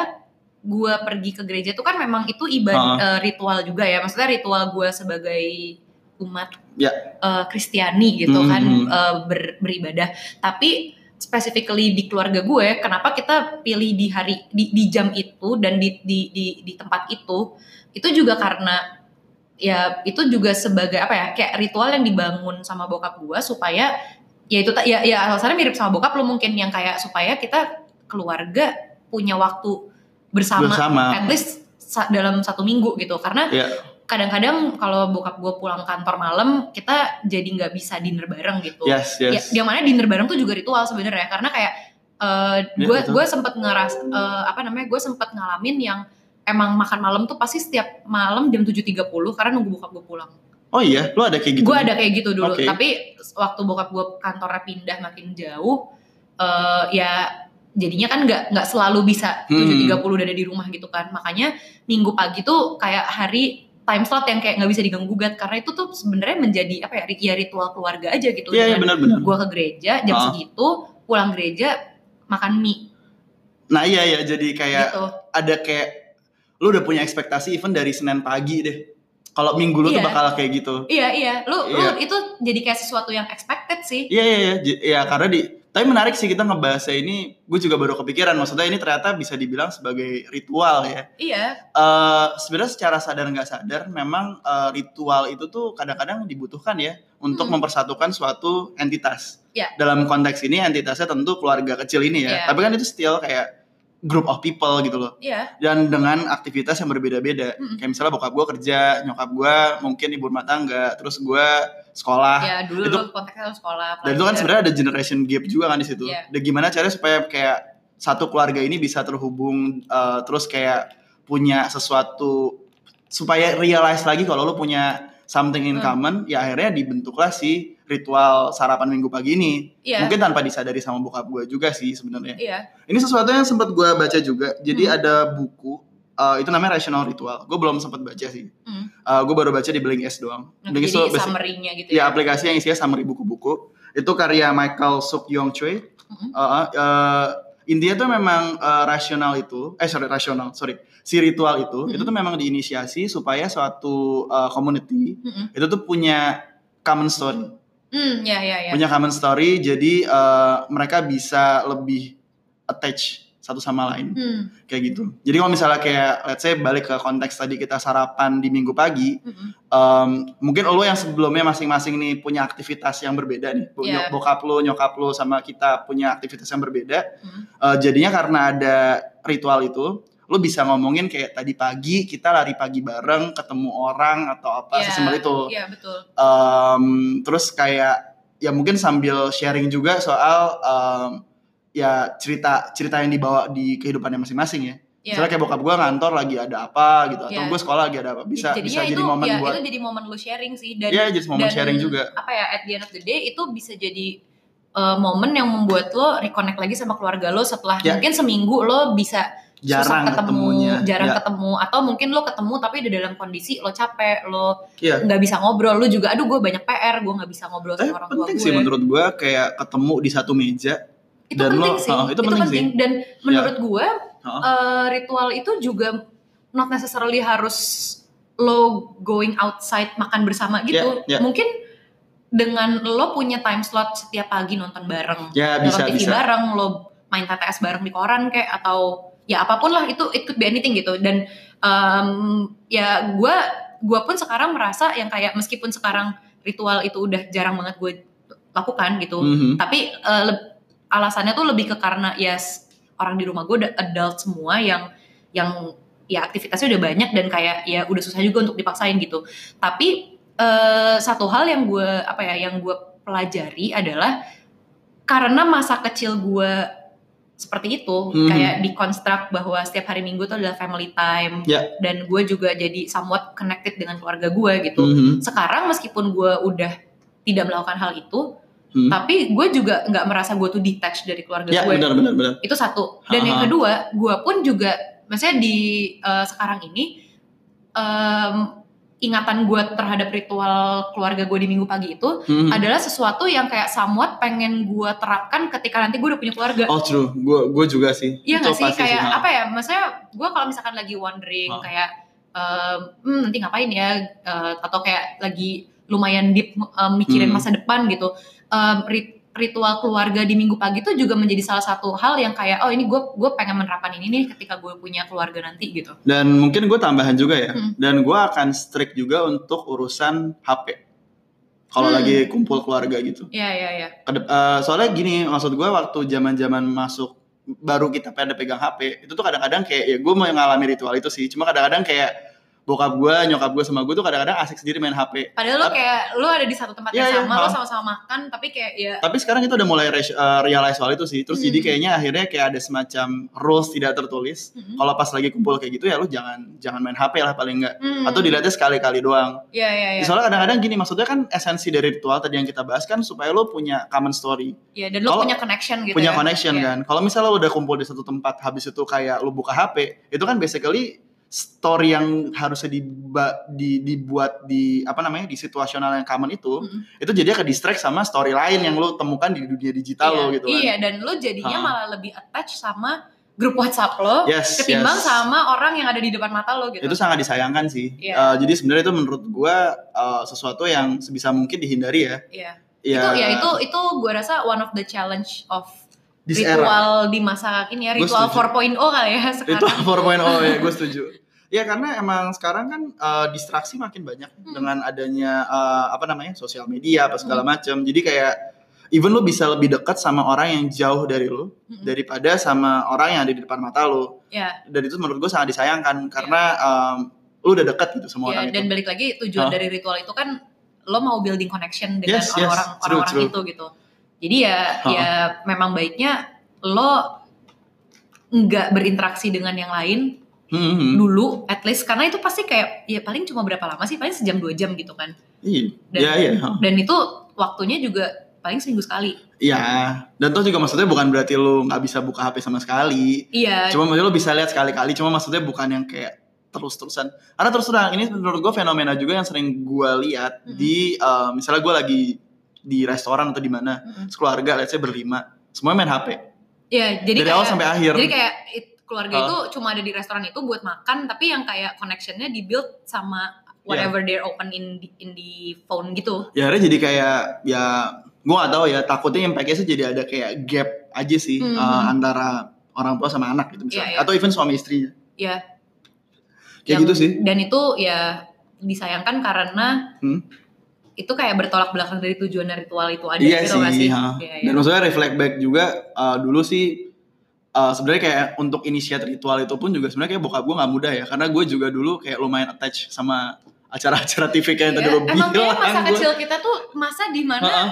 [SPEAKER 2] gua pergi ke gereja itu kan memang itu ibadah ritual juga ya. Maksudnya ritual gua sebagai umat
[SPEAKER 1] Ya.
[SPEAKER 2] eh, Kristiani gitu kan
[SPEAKER 1] Mhm.
[SPEAKER 2] eh, ber- beribadah. Tapi specifically di keluarga gue kenapa kita pilih di hari di, di jam itu dan di di di, di tempat itu itu juga karena ya itu juga sebagai apa ya kayak ritual yang dibangun sama bokap gue supaya ya itu ta- ya ya alasannya mirip sama bokap lo mungkin yang kayak supaya kita keluarga punya waktu bersama,
[SPEAKER 1] bersama
[SPEAKER 2] at least sa- dalam satu minggu gitu karena
[SPEAKER 1] Iya.
[SPEAKER 2] kadang-kadang kalau bokap gue pulang kantor malam kita jadi nggak bisa dinner bareng gitu
[SPEAKER 1] yes yes
[SPEAKER 2] Ya, yang mana dinner bareng tuh juga ritual sebenarnya ya. karena kayak
[SPEAKER 1] Iya,
[SPEAKER 2] gue
[SPEAKER 1] betul.
[SPEAKER 2] gue sempet ngeras eh, apa namanya gue sempet ngalamin yang emang makan malam tuh pasti setiap malam jam 7.30 karena nunggu bokap gue pulang.
[SPEAKER 1] oh iya lo ada kayak gitu
[SPEAKER 2] Gue ada kayak gitu dulu,
[SPEAKER 1] Oke.
[SPEAKER 2] tapi waktu bokap gue kantornya pindah makin jauh, eh, ya jadinya kan nggak nggak selalu bisa
[SPEAKER 1] Hmm.
[SPEAKER 2] 7.30 udah ada di rumah gitu kan, makanya minggu pagi tuh kayak hari time slot yang kayak nggak bisa diganggu gugat karena itu tuh sebenarnya menjadi apa ya, ri- ya ritual keluarga aja gitu.
[SPEAKER 1] Iya, iya
[SPEAKER 2] Dengan
[SPEAKER 1] benar-benar.
[SPEAKER 2] gue ke gereja jam
[SPEAKER 1] Ah.
[SPEAKER 2] segitu, pulang gereja makan mie
[SPEAKER 1] Nah iya ya, jadi kayak
[SPEAKER 2] gitu.
[SPEAKER 1] ada kayak lu udah punya ekspektasi even dari Senin pagi deh. Kalau minggu lu tuh
[SPEAKER 2] Iya.
[SPEAKER 1] bakal kayak gitu.
[SPEAKER 2] Iya iya, lu
[SPEAKER 1] Iya.
[SPEAKER 2] lu itu jadi kayak sesuatu yang expected sih.
[SPEAKER 1] Iya iya iya J- iya, karena di tapi menarik sih kita ngebahasnya ini, gue juga baru kepikiran maksudnya ini ternyata bisa dibilang sebagai ritual ya.
[SPEAKER 2] Iya,
[SPEAKER 1] Eh sebenarnya secara sadar nggak sadar memang eh, ritual itu tuh kadang-kadang dibutuhkan ya untuk
[SPEAKER 2] Hmm.
[SPEAKER 1] mempersatukan suatu entitas.
[SPEAKER 2] Iya.
[SPEAKER 1] Dalam konteks ini entitasnya tentu keluarga kecil ini ya.
[SPEAKER 2] Iya.
[SPEAKER 1] Tapi kan itu still kayak group of people gitu loh.
[SPEAKER 2] iya.
[SPEAKER 1] Dan dengan aktivitas yang berbeda-beda.
[SPEAKER 2] Mm-mm.
[SPEAKER 1] Kayak misalnya bokap gue kerja, nyokap gue mungkin ibu rumah tangga, terus gue sekolah.
[SPEAKER 2] ya dulu
[SPEAKER 1] Ah, itu-
[SPEAKER 2] lu konteksnya lu sekolah.
[SPEAKER 1] Dan itu kan
[SPEAKER 2] pelajar.
[SPEAKER 1] sebenarnya ada generation gap juga kan di situ.
[SPEAKER 2] Iya.
[SPEAKER 1] Dan gimana caranya supaya kayak satu keluarga ini bisa terhubung eh, terus kayak punya sesuatu supaya realize lagi kalau lo punya something in
[SPEAKER 2] Hmm.
[SPEAKER 1] common, ya akhirnya dibentuklah si ritual sarapan minggu pagi ini.
[SPEAKER 2] Iya.
[SPEAKER 1] Mungkin tanpa disadari sama bokap gue juga sih sebenarnya.
[SPEAKER 2] Iya.
[SPEAKER 1] Ini sesuatu yang sempat gue baca juga. Jadi
[SPEAKER 2] Hmm.
[SPEAKER 1] ada buku eh, itu namanya Rational Ritual. Gue belum sempat baca sih.
[SPEAKER 2] Hmm. Nah,
[SPEAKER 1] gue baru baca di Blink S doang. Blink S
[SPEAKER 2] Jadi
[SPEAKER 1] tuh basic-
[SPEAKER 2] summary-nya gitu
[SPEAKER 1] Ya
[SPEAKER 2] ya.
[SPEAKER 1] aplikasi yang isinya summary buku-buku itu karya Michael Suk Yong Choi.
[SPEAKER 2] Mm-mm.
[SPEAKER 1] Uh, uh, India tuh memang uh, rasional itu, eh sorry rasional, sorry si ritual itu,
[SPEAKER 2] Mm-mm.
[SPEAKER 1] itu tuh memang diinisiasi supaya suatu uh, community
[SPEAKER 2] Mm-mm.
[SPEAKER 1] itu tuh punya common story,
[SPEAKER 2] Hmm, ya ya ya.
[SPEAKER 1] punya common story, jadi uh, mereka bisa lebih attach satu sama lain
[SPEAKER 2] Hmm.
[SPEAKER 1] kayak gitu. Jadi kalau misalnya kayak let's say balik ke konteks tadi kita sarapan di minggu pagi,
[SPEAKER 2] Mm-mm.
[SPEAKER 1] Em, mungkin lo yang sebelumnya masing-masing nih punya aktivitas yang berbeda nih Bo-
[SPEAKER 2] Iya.
[SPEAKER 1] nyok- bokap lo nyokap lo sama kita punya aktivitas yang berbeda
[SPEAKER 2] Hmm.
[SPEAKER 1] Eh, jadinya karena ada ritual itu lo bisa ngomongin kayak tadi pagi kita lari pagi bareng ketemu orang atau apa
[SPEAKER 2] Iya,
[SPEAKER 1] Ah, sesimpel itu
[SPEAKER 2] Iya, betul.
[SPEAKER 1] Em, terus kayak ya mungkin sambil sharing juga soal em, ya cerita cerita yang dibawa di kehidupannya masing-masing ya
[SPEAKER 2] Iya.
[SPEAKER 1] misalnya kayak bokap gue ngantor lagi ada apa gitu atau
[SPEAKER 2] Iya.
[SPEAKER 1] gue sekolah lagi ada apa bisa
[SPEAKER 2] Jadinya
[SPEAKER 1] bisa jadi
[SPEAKER 2] itu,
[SPEAKER 1] momen
[SPEAKER 2] ya,
[SPEAKER 1] buat
[SPEAKER 2] itu jadi momen lu sharing sih dan
[SPEAKER 1] Iya jadi momen
[SPEAKER 2] dan
[SPEAKER 1] sharing juga.
[SPEAKER 2] apa ya at the end of the day itu bisa jadi uh, momen yang membuat lo reconnect lagi sama keluarga lo setelah
[SPEAKER 1] Ya.
[SPEAKER 2] mungkin seminggu lo bisa susah
[SPEAKER 1] Jarang
[SPEAKER 2] ketemu
[SPEAKER 1] ketemunya.
[SPEAKER 2] jarang
[SPEAKER 1] Ya,
[SPEAKER 2] ketemu atau mungkin lo ketemu tapi udah dalam kondisi lo capek lo
[SPEAKER 1] Iya.
[SPEAKER 2] nggak bisa ngobrol lo juga aduh gue banyak PR gue nggak bisa ngobrol
[SPEAKER 1] Tapi
[SPEAKER 2] sama orang tua
[SPEAKER 1] Eh, penting
[SPEAKER 2] gue
[SPEAKER 1] sih menurut gue kayak ketemu di satu meja.
[SPEAKER 2] itu
[SPEAKER 1] Dan
[SPEAKER 2] penting
[SPEAKER 1] lo-
[SPEAKER 2] sih
[SPEAKER 1] oh, itu penting sih.
[SPEAKER 2] dan menurut gue
[SPEAKER 1] Heeh.
[SPEAKER 2] eh, ritual itu juga not necessarily harus lo going outside makan bersama
[SPEAKER 1] Iya,
[SPEAKER 2] gitu
[SPEAKER 1] iya.
[SPEAKER 2] mungkin dengan lo punya time slot setiap pagi nonton bareng
[SPEAKER 1] Ya bisa
[SPEAKER 2] nonton TV
[SPEAKER 1] bisa.
[SPEAKER 2] bareng lo main TTS bareng di koran kayak atau ya apapun lah itu it could be anything gitu dan em, ya gue gue pun sekarang merasa yang kayak meskipun sekarang ritual itu udah jarang banget gue lakukan gitu
[SPEAKER 1] Mhm.
[SPEAKER 2] tapi eh, leb- alasannya tuh lebih ke karena ya s- orang di rumah gue udah adult semua yang yang ya aktivitasnya udah banyak dan kayak ya udah susah juga untuk dipaksain gitu tapi eh, satu hal yang gue apa ya yang gue pelajari adalah karena masa kecil gue seperti itu
[SPEAKER 1] Mhm.
[SPEAKER 2] kayak dikonstruk bahwa setiap hari minggu itu adalah family time
[SPEAKER 1] Ya.
[SPEAKER 2] dan gue juga jadi somewhat connected dengan keluarga gue gitu
[SPEAKER 1] Mhm.
[SPEAKER 2] sekarang meskipun gue udah tidak melakukan hal itu
[SPEAKER 1] Hmm.
[SPEAKER 2] tapi gue juga nggak merasa gue tuh detached dari keluarga
[SPEAKER 1] Ya
[SPEAKER 2] gue
[SPEAKER 1] benar benar benar.
[SPEAKER 2] itu satu
[SPEAKER 1] Aha.
[SPEAKER 2] dan yang kedua gue pun juga maksudnya di eh, sekarang ini em, ingatan gue terhadap ritual keluarga gue di minggu pagi itu
[SPEAKER 1] Mhm.
[SPEAKER 2] adalah sesuatu yang kayak somewhat pengen gue terapkan ketika nanti gue udah punya keluarga
[SPEAKER 1] Oh true, gue gue juga sih.
[SPEAKER 2] Iya
[SPEAKER 1] Itu
[SPEAKER 2] gak sih
[SPEAKER 1] pasti
[SPEAKER 2] kayak
[SPEAKER 1] ha.
[SPEAKER 2] apa ya? Maksudnya gue kalau misalkan lagi wondering
[SPEAKER 1] Hah.
[SPEAKER 2] kayak em, hmm, nanti ngapain ya? Eh, atau kayak lagi lumayan deep em, mikirin
[SPEAKER 1] Hmm.
[SPEAKER 2] masa depan gitu. Em, rit- ritual keluarga di minggu pagi itu juga menjadi salah satu hal yang kayak oh ini gue gue pengen menerapkan ini nih ketika gue punya keluarga nanti gitu.
[SPEAKER 1] Dan mungkin gue tambahan juga ya.
[SPEAKER 2] Hmm.
[SPEAKER 1] Dan gue akan strict juga untuk urusan HP. Kalau
[SPEAKER 2] Hmm.
[SPEAKER 1] lagi kumpul keluarga gitu.
[SPEAKER 2] Iya iya iya.
[SPEAKER 1] Kedep- eh, soalnya gini maksud gue waktu zaman zaman masuk baru kita pada pegang HP itu tuh kadang-kadang kayak ya gue mau ngalami ritual itu sih cuma kadang-kadang kayak bokap gue nyokap gue sama gue tuh kadang-kadang asik sendiri main HP
[SPEAKER 2] Padahal lo
[SPEAKER 1] Tapi-
[SPEAKER 2] kayak lo ada di satu tempat
[SPEAKER 1] Iya, iya,
[SPEAKER 2] yang sama, lo
[SPEAKER 1] hah.
[SPEAKER 2] sama-sama makan tapi kayak ya
[SPEAKER 1] tapi sekarang itu udah mulai res- eh, realize soal itu sih terus
[SPEAKER 2] Hmm.
[SPEAKER 1] jadi kayaknya akhirnya kayak ada semacam rules tidak tertulis
[SPEAKER 2] mm,
[SPEAKER 1] kalau pas lagi kumpul kayak gitu ya lu jangan jangan main HP lah paling enggak
[SPEAKER 2] mm,
[SPEAKER 1] atau dilihatnya sekali-kali doang
[SPEAKER 2] Iya iya iya.
[SPEAKER 1] soalnya kadang-kadang gini maksudnya kan esensi dari ritual tadi yang kita bahas kan supaya lo punya common story
[SPEAKER 2] Iya, dan lo
[SPEAKER 1] kalau-
[SPEAKER 2] punya connection gitu.
[SPEAKER 1] punya
[SPEAKER 2] ya.
[SPEAKER 1] connection
[SPEAKER 2] Iya.
[SPEAKER 1] kan. Kalau misalnya lo udah kumpul di satu tempat, habis itu kayak lo buka HP, itu kan basically story yang harusnya diba- di- dibuat di apa namanya di situasional yang common itu,
[SPEAKER 2] Mm.
[SPEAKER 1] itu jadinya ke distract sama story lain yang lo temukan di dunia digital
[SPEAKER 2] iya.
[SPEAKER 1] lo gitu kan.
[SPEAKER 2] Iya, dan lo jadinya
[SPEAKER 1] Ha.
[SPEAKER 2] malah lebih attach sama grup WhatsApp lo
[SPEAKER 1] Yes,
[SPEAKER 2] ketimbang
[SPEAKER 1] yes.
[SPEAKER 2] sama orang yang ada di depan mata lo gitu.
[SPEAKER 1] itu sangat disayangkan sih. Eh,
[SPEAKER 2] Iya.
[SPEAKER 1] jadi sebenarnya itu menurut gua eh, sesuatu yang sebisa mungkin dihindari ya.
[SPEAKER 2] Iya.
[SPEAKER 1] Ya,
[SPEAKER 2] Itu ya itu itu gue rasa one of the challenge of
[SPEAKER 1] di era.
[SPEAKER 2] ritual di masa ini ya
[SPEAKER 1] Gua
[SPEAKER 2] ritual
[SPEAKER 1] setuju.
[SPEAKER 2] 4.0 kali ya
[SPEAKER 1] Itu
[SPEAKER 2] sekarang.
[SPEAKER 1] 4.0
[SPEAKER 2] gitu.
[SPEAKER 1] ya, gue setuju. Ya karena emang sekarang kan eh, distraksi makin banyak
[SPEAKER 2] Hmm.
[SPEAKER 1] dengan adanya eh, apa namanya sosial media apa segala macam. Jadi kayak even lu bisa lebih dekat sama orang yang jauh dari lu
[SPEAKER 2] Mm-mm.
[SPEAKER 1] daripada sama orang yang ada di depan mata lu.
[SPEAKER 2] Ya,
[SPEAKER 1] Dan itu menurut gue sangat disayangkan karena em, lu udah dekat gitu sama
[SPEAKER 2] ya,
[SPEAKER 1] orang
[SPEAKER 2] Iya. dan
[SPEAKER 1] itu.
[SPEAKER 2] balik lagi tujuan
[SPEAKER 1] Hah?
[SPEAKER 2] dari ritual itu kan lo mau building connection dengan
[SPEAKER 1] Yes, yes.
[SPEAKER 2] orang-orang
[SPEAKER 1] True,
[SPEAKER 2] orang-orang
[SPEAKER 1] true.
[SPEAKER 2] itu gitu. Jadi ya
[SPEAKER 1] Hah.
[SPEAKER 2] ya memang baiknya lo nggak berinteraksi dengan yang lain
[SPEAKER 1] Hmm, hmm.
[SPEAKER 2] dulu at least karena itu pasti kayak ya paling cuma berapa lama sih paling sejam dua jam gitu kan
[SPEAKER 1] Iya,
[SPEAKER 2] dan
[SPEAKER 1] iya, iya.
[SPEAKER 2] dan itu waktunya juga paling seminggu sekali
[SPEAKER 1] Iya, dan toh juga maksudnya bukan berarti lu nggak bisa buka HP sama sekali.
[SPEAKER 2] iya
[SPEAKER 1] Cuma maksudnya lu bisa lihat sekali-kali, cuma maksudnya bukan yang kayak terus-terusan. Karena terus terang ini menurut gue fenomena juga yang sering gue lihat
[SPEAKER 2] Mm-mm.
[SPEAKER 1] di eh, misalnya gue lagi di restoran atau di mana,
[SPEAKER 2] Mm-mm.
[SPEAKER 1] sekeluarga let's say berlima, semua main HP.
[SPEAKER 2] iya jadi
[SPEAKER 1] dari
[SPEAKER 2] kayak,
[SPEAKER 1] awal sampai akhir. Ah.
[SPEAKER 2] jadi kayak it- keluarga
[SPEAKER 1] Hah.
[SPEAKER 2] itu cuma ada di restoran itu buat makan tapi yang kayak connectionnya di build sama
[SPEAKER 1] Iya.
[SPEAKER 2] whatever they're open in the, in the phone gitu
[SPEAKER 1] Ya akhirnya jadi kayak ya gue gak tahu ya takutnya impact-nya sih jadi ada kayak gap aja sih
[SPEAKER 2] Mhm.
[SPEAKER 1] eh, antara orang tua sama anak gitu misalnya
[SPEAKER 2] Iya, iya.
[SPEAKER 1] atau even suami istrinya.
[SPEAKER 2] Iya.
[SPEAKER 1] Kayak
[SPEAKER 2] Yang-
[SPEAKER 1] gitu sih.
[SPEAKER 2] dan itu ya disayangkan karena
[SPEAKER 1] Hmm.
[SPEAKER 2] itu kayak bertolak belakang dari tujuan ritual itu ada
[SPEAKER 1] Iya
[SPEAKER 2] gitu
[SPEAKER 1] sih,
[SPEAKER 2] nggak sih
[SPEAKER 1] ha.
[SPEAKER 2] Iya, iya.
[SPEAKER 1] Dan maksudnya reflect back juga uh, dulu sih uh, sebenarnya kayak untuk inisiat ritual itu pun juga sebenarnya kayak bokap gue nggak mudah ya karena gue juga dulu kayak lumayan attach sama acara-acara TV kayak yang tadi
[SPEAKER 2] Iya,
[SPEAKER 1] lo bilang.
[SPEAKER 2] Emang kayak masa
[SPEAKER 1] gua-
[SPEAKER 2] kecil kita tuh masa di mana
[SPEAKER 1] Ha-ha,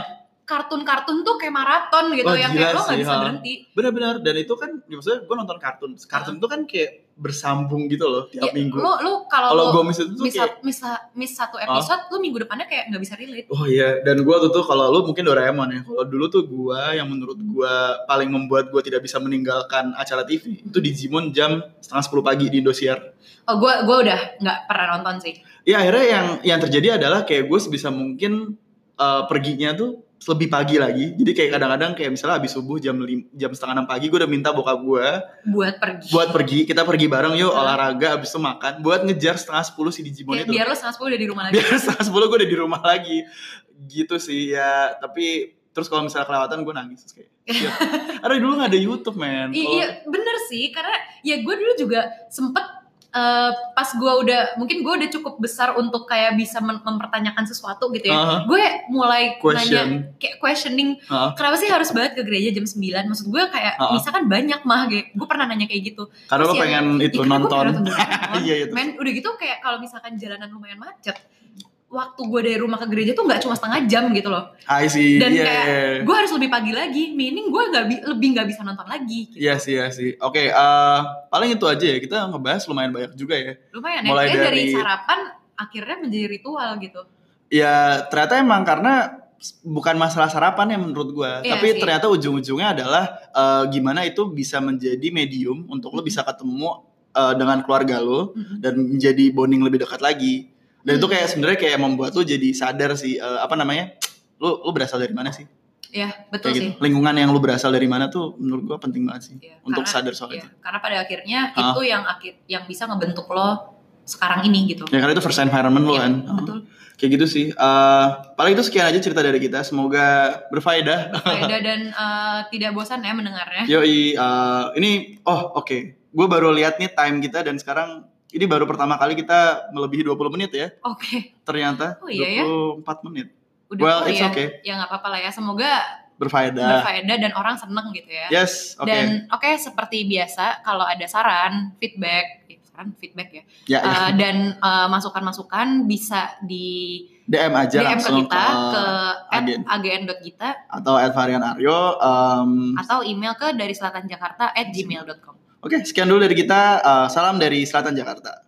[SPEAKER 2] kartun-kartun tuh kayak maraton gitu
[SPEAKER 1] Wah,
[SPEAKER 2] yang
[SPEAKER 1] Oh, gila
[SPEAKER 2] kayak lo
[SPEAKER 1] sih,
[SPEAKER 2] nggak bisa
[SPEAKER 1] ha.
[SPEAKER 2] berhenti.
[SPEAKER 1] Benar-benar dan itu kan ya maksudnya gue nonton kartun. Kartun itu kan kayak bersambung gitu loh tiap
[SPEAKER 2] Ya,
[SPEAKER 1] minggu.
[SPEAKER 2] Lo lo kalau
[SPEAKER 1] Kalau
[SPEAKER 2] lo
[SPEAKER 1] gue miss itu tuh
[SPEAKER 2] miss,
[SPEAKER 1] kayak
[SPEAKER 2] miss, miss satu episode, lo minggu depannya kayak nggak bisa relate.
[SPEAKER 1] Oh iya, dan gue tuh tuh kalau lu mungkin Doraemon ya. Kalau dulu tuh gue yang menurut gue paling membuat gue tidak bisa meninggalkan acara TV itu Digimon jam setengah sepuluh pagi di Indosiar.
[SPEAKER 2] Oh gue gue udah nggak pernah nonton sih.
[SPEAKER 1] ya akhirnya yang yang terjadi adalah kayak gue sebisa mungkin eh, perginya tuh lebih pagi lagi jadi kayak kadang-kadang kayak misalnya habis subuh jam lim- jam setengah enam pagi gue udah minta bokap gue
[SPEAKER 2] Buat pergi.
[SPEAKER 1] buat pergi kita pergi bareng yuk
[SPEAKER 2] Hmm.
[SPEAKER 1] olahraga habis itu makan buat ngejar setengah sepuluh si Digimon
[SPEAKER 2] Kayak
[SPEAKER 1] itu
[SPEAKER 2] biar lo setengah sepuluh udah di rumah lagi.
[SPEAKER 1] biar setengah sepuluh gue udah di rumah lagi gitu sih ya tapi terus kalau misalnya kelewatan gue nangis terus kayak shit. Aduh dulu gak ada YouTube men
[SPEAKER 2] I-
[SPEAKER 1] Kalau-
[SPEAKER 2] Iya bener sih karena ya gue dulu juga sempet eh, pas gue udah mungkin gue udah cukup besar untuk kayak bisa men- mempertanyakan sesuatu gitu ya.
[SPEAKER 1] Aha.
[SPEAKER 2] Gue mulai nanya
[SPEAKER 1] question
[SPEAKER 2] kayak questioning
[SPEAKER 1] Heeh.
[SPEAKER 2] kenapa sih harus banget ke gereja jam 9 maksud gue kayak
[SPEAKER 1] Heeh.
[SPEAKER 2] misa kan banyak mah gue pernah nanya kayak gitu
[SPEAKER 1] karena lo
[SPEAKER 2] Terus ya,
[SPEAKER 1] pengen itu
[SPEAKER 2] Ih, kenapa gue
[SPEAKER 1] nonton
[SPEAKER 2] pengen nonton
[SPEAKER 1] iya itu
[SPEAKER 2] men udah gitu kayak kalau misalkan jalanan lumayan macet waktu gue dari rumah ke gereja tuh nggak cuma setengah jam gitu loh
[SPEAKER 1] I see
[SPEAKER 2] Dan
[SPEAKER 1] iya,
[SPEAKER 2] kayak-
[SPEAKER 1] iya, iya.
[SPEAKER 2] gue harus lebih pagi lagi meaning gue nggak bi- lebih nggak bisa nonton lagi gitu.
[SPEAKER 1] Iya sih, iya sih. Oke, eh, paling itu aja ya. Kita ngebahas lumayan banyak juga ya.
[SPEAKER 2] lumayan
[SPEAKER 1] Mulai
[SPEAKER 2] ya Kayaknya dari,
[SPEAKER 1] dari-
[SPEAKER 2] sarapan akhirnya menjadi ritual gitu
[SPEAKER 1] Ya ternyata emang karena s- bukan masalah sarapan ya menurut gua.
[SPEAKER 2] Iya
[SPEAKER 1] Tapi
[SPEAKER 2] sih.
[SPEAKER 1] ternyata ujung-ujungnya adalah eh, gimana itu bisa menjadi medium untuk lo
[SPEAKER 2] Mm-hmm.
[SPEAKER 1] bisa ketemu eh, dengan keluarga lo
[SPEAKER 2] Mhm.
[SPEAKER 1] dan menjadi bonding lebih dekat lagi. Dan itu
[SPEAKER 2] Hmm.
[SPEAKER 1] kayak sebenarnya kayak membuat lo jadi sadar sih eh, apa namanya? Lo lo berasal dari mana sih?
[SPEAKER 2] ya betul
[SPEAKER 1] Kayak
[SPEAKER 2] sih
[SPEAKER 1] gitu. Lingkungan yang lo berasal dari mana tuh menurut gua penting banget sih
[SPEAKER 2] Iya,
[SPEAKER 1] untuk
[SPEAKER 2] karena-
[SPEAKER 1] sadar soal
[SPEAKER 2] Iya,
[SPEAKER 1] itu.
[SPEAKER 2] karena pada akhirnya
[SPEAKER 1] Heeh.
[SPEAKER 2] itu yang akhir yang bisa ngebentuk lo sekarang ini gitu
[SPEAKER 1] Ya karena itu first environment lo
[SPEAKER 2] Iya,
[SPEAKER 1] kan.
[SPEAKER 2] betul
[SPEAKER 1] kayak gitu sih Eh, paling itu sekian aja cerita dari kita semoga berfaedah
[SPEAKER 2] Faedah dan eh, tidak bosan ya mendengarnya
[SPEAKER 1] yoi eh, ini oh oke gue baru lihat nih time kita dan sekarang ini baru pertama kali kita melebihi 20 menit ya
[SPEAKER 2] oke
[SPEAKER 1] ternyata
[SPEAKER 2] Oh, iya ya?
[SPEAKER 1] 24 menit
[SPEAKER 2] udah
[SPEAKER 1] well
[SPEAKER 2] tahu
[SPEAKER 1] it's
[SPEAKER 2] ya
[SPEAKER 1] okay
[SPEAKER 2] ya nggak apa-apa lah ya semoga
[SPEAKER 1] berfaedah
[SPEAKER 2] berfaedah dan orang seneng gitu ya
[SPEAKER 1] yes oke
[SPEAKER 2] dan oke seperti biasa kalau ada saran feedback eh, saran feedback ya
[SPEAKER 1] ya, ya.
[SPEAKER 2] Eh, dan eh, masukan-masukan bisa di
[SPEAKER 1] dm aja
[SPEAKER 2] DM ke
[SPEAKER 1] langsung
[SPEAKER 2] kita ke
[SPEAKER 1] agen.
[SPEAKER 2] agn.gita
[SPEAKER 1] atau at varian Aryo Em,
[SPEAKER 2] atau email ke dari selatan jakarta at gmail.com
[SPEAKER 1] oke sekian dulu dari kita Eh, salam dari selatan Jakarta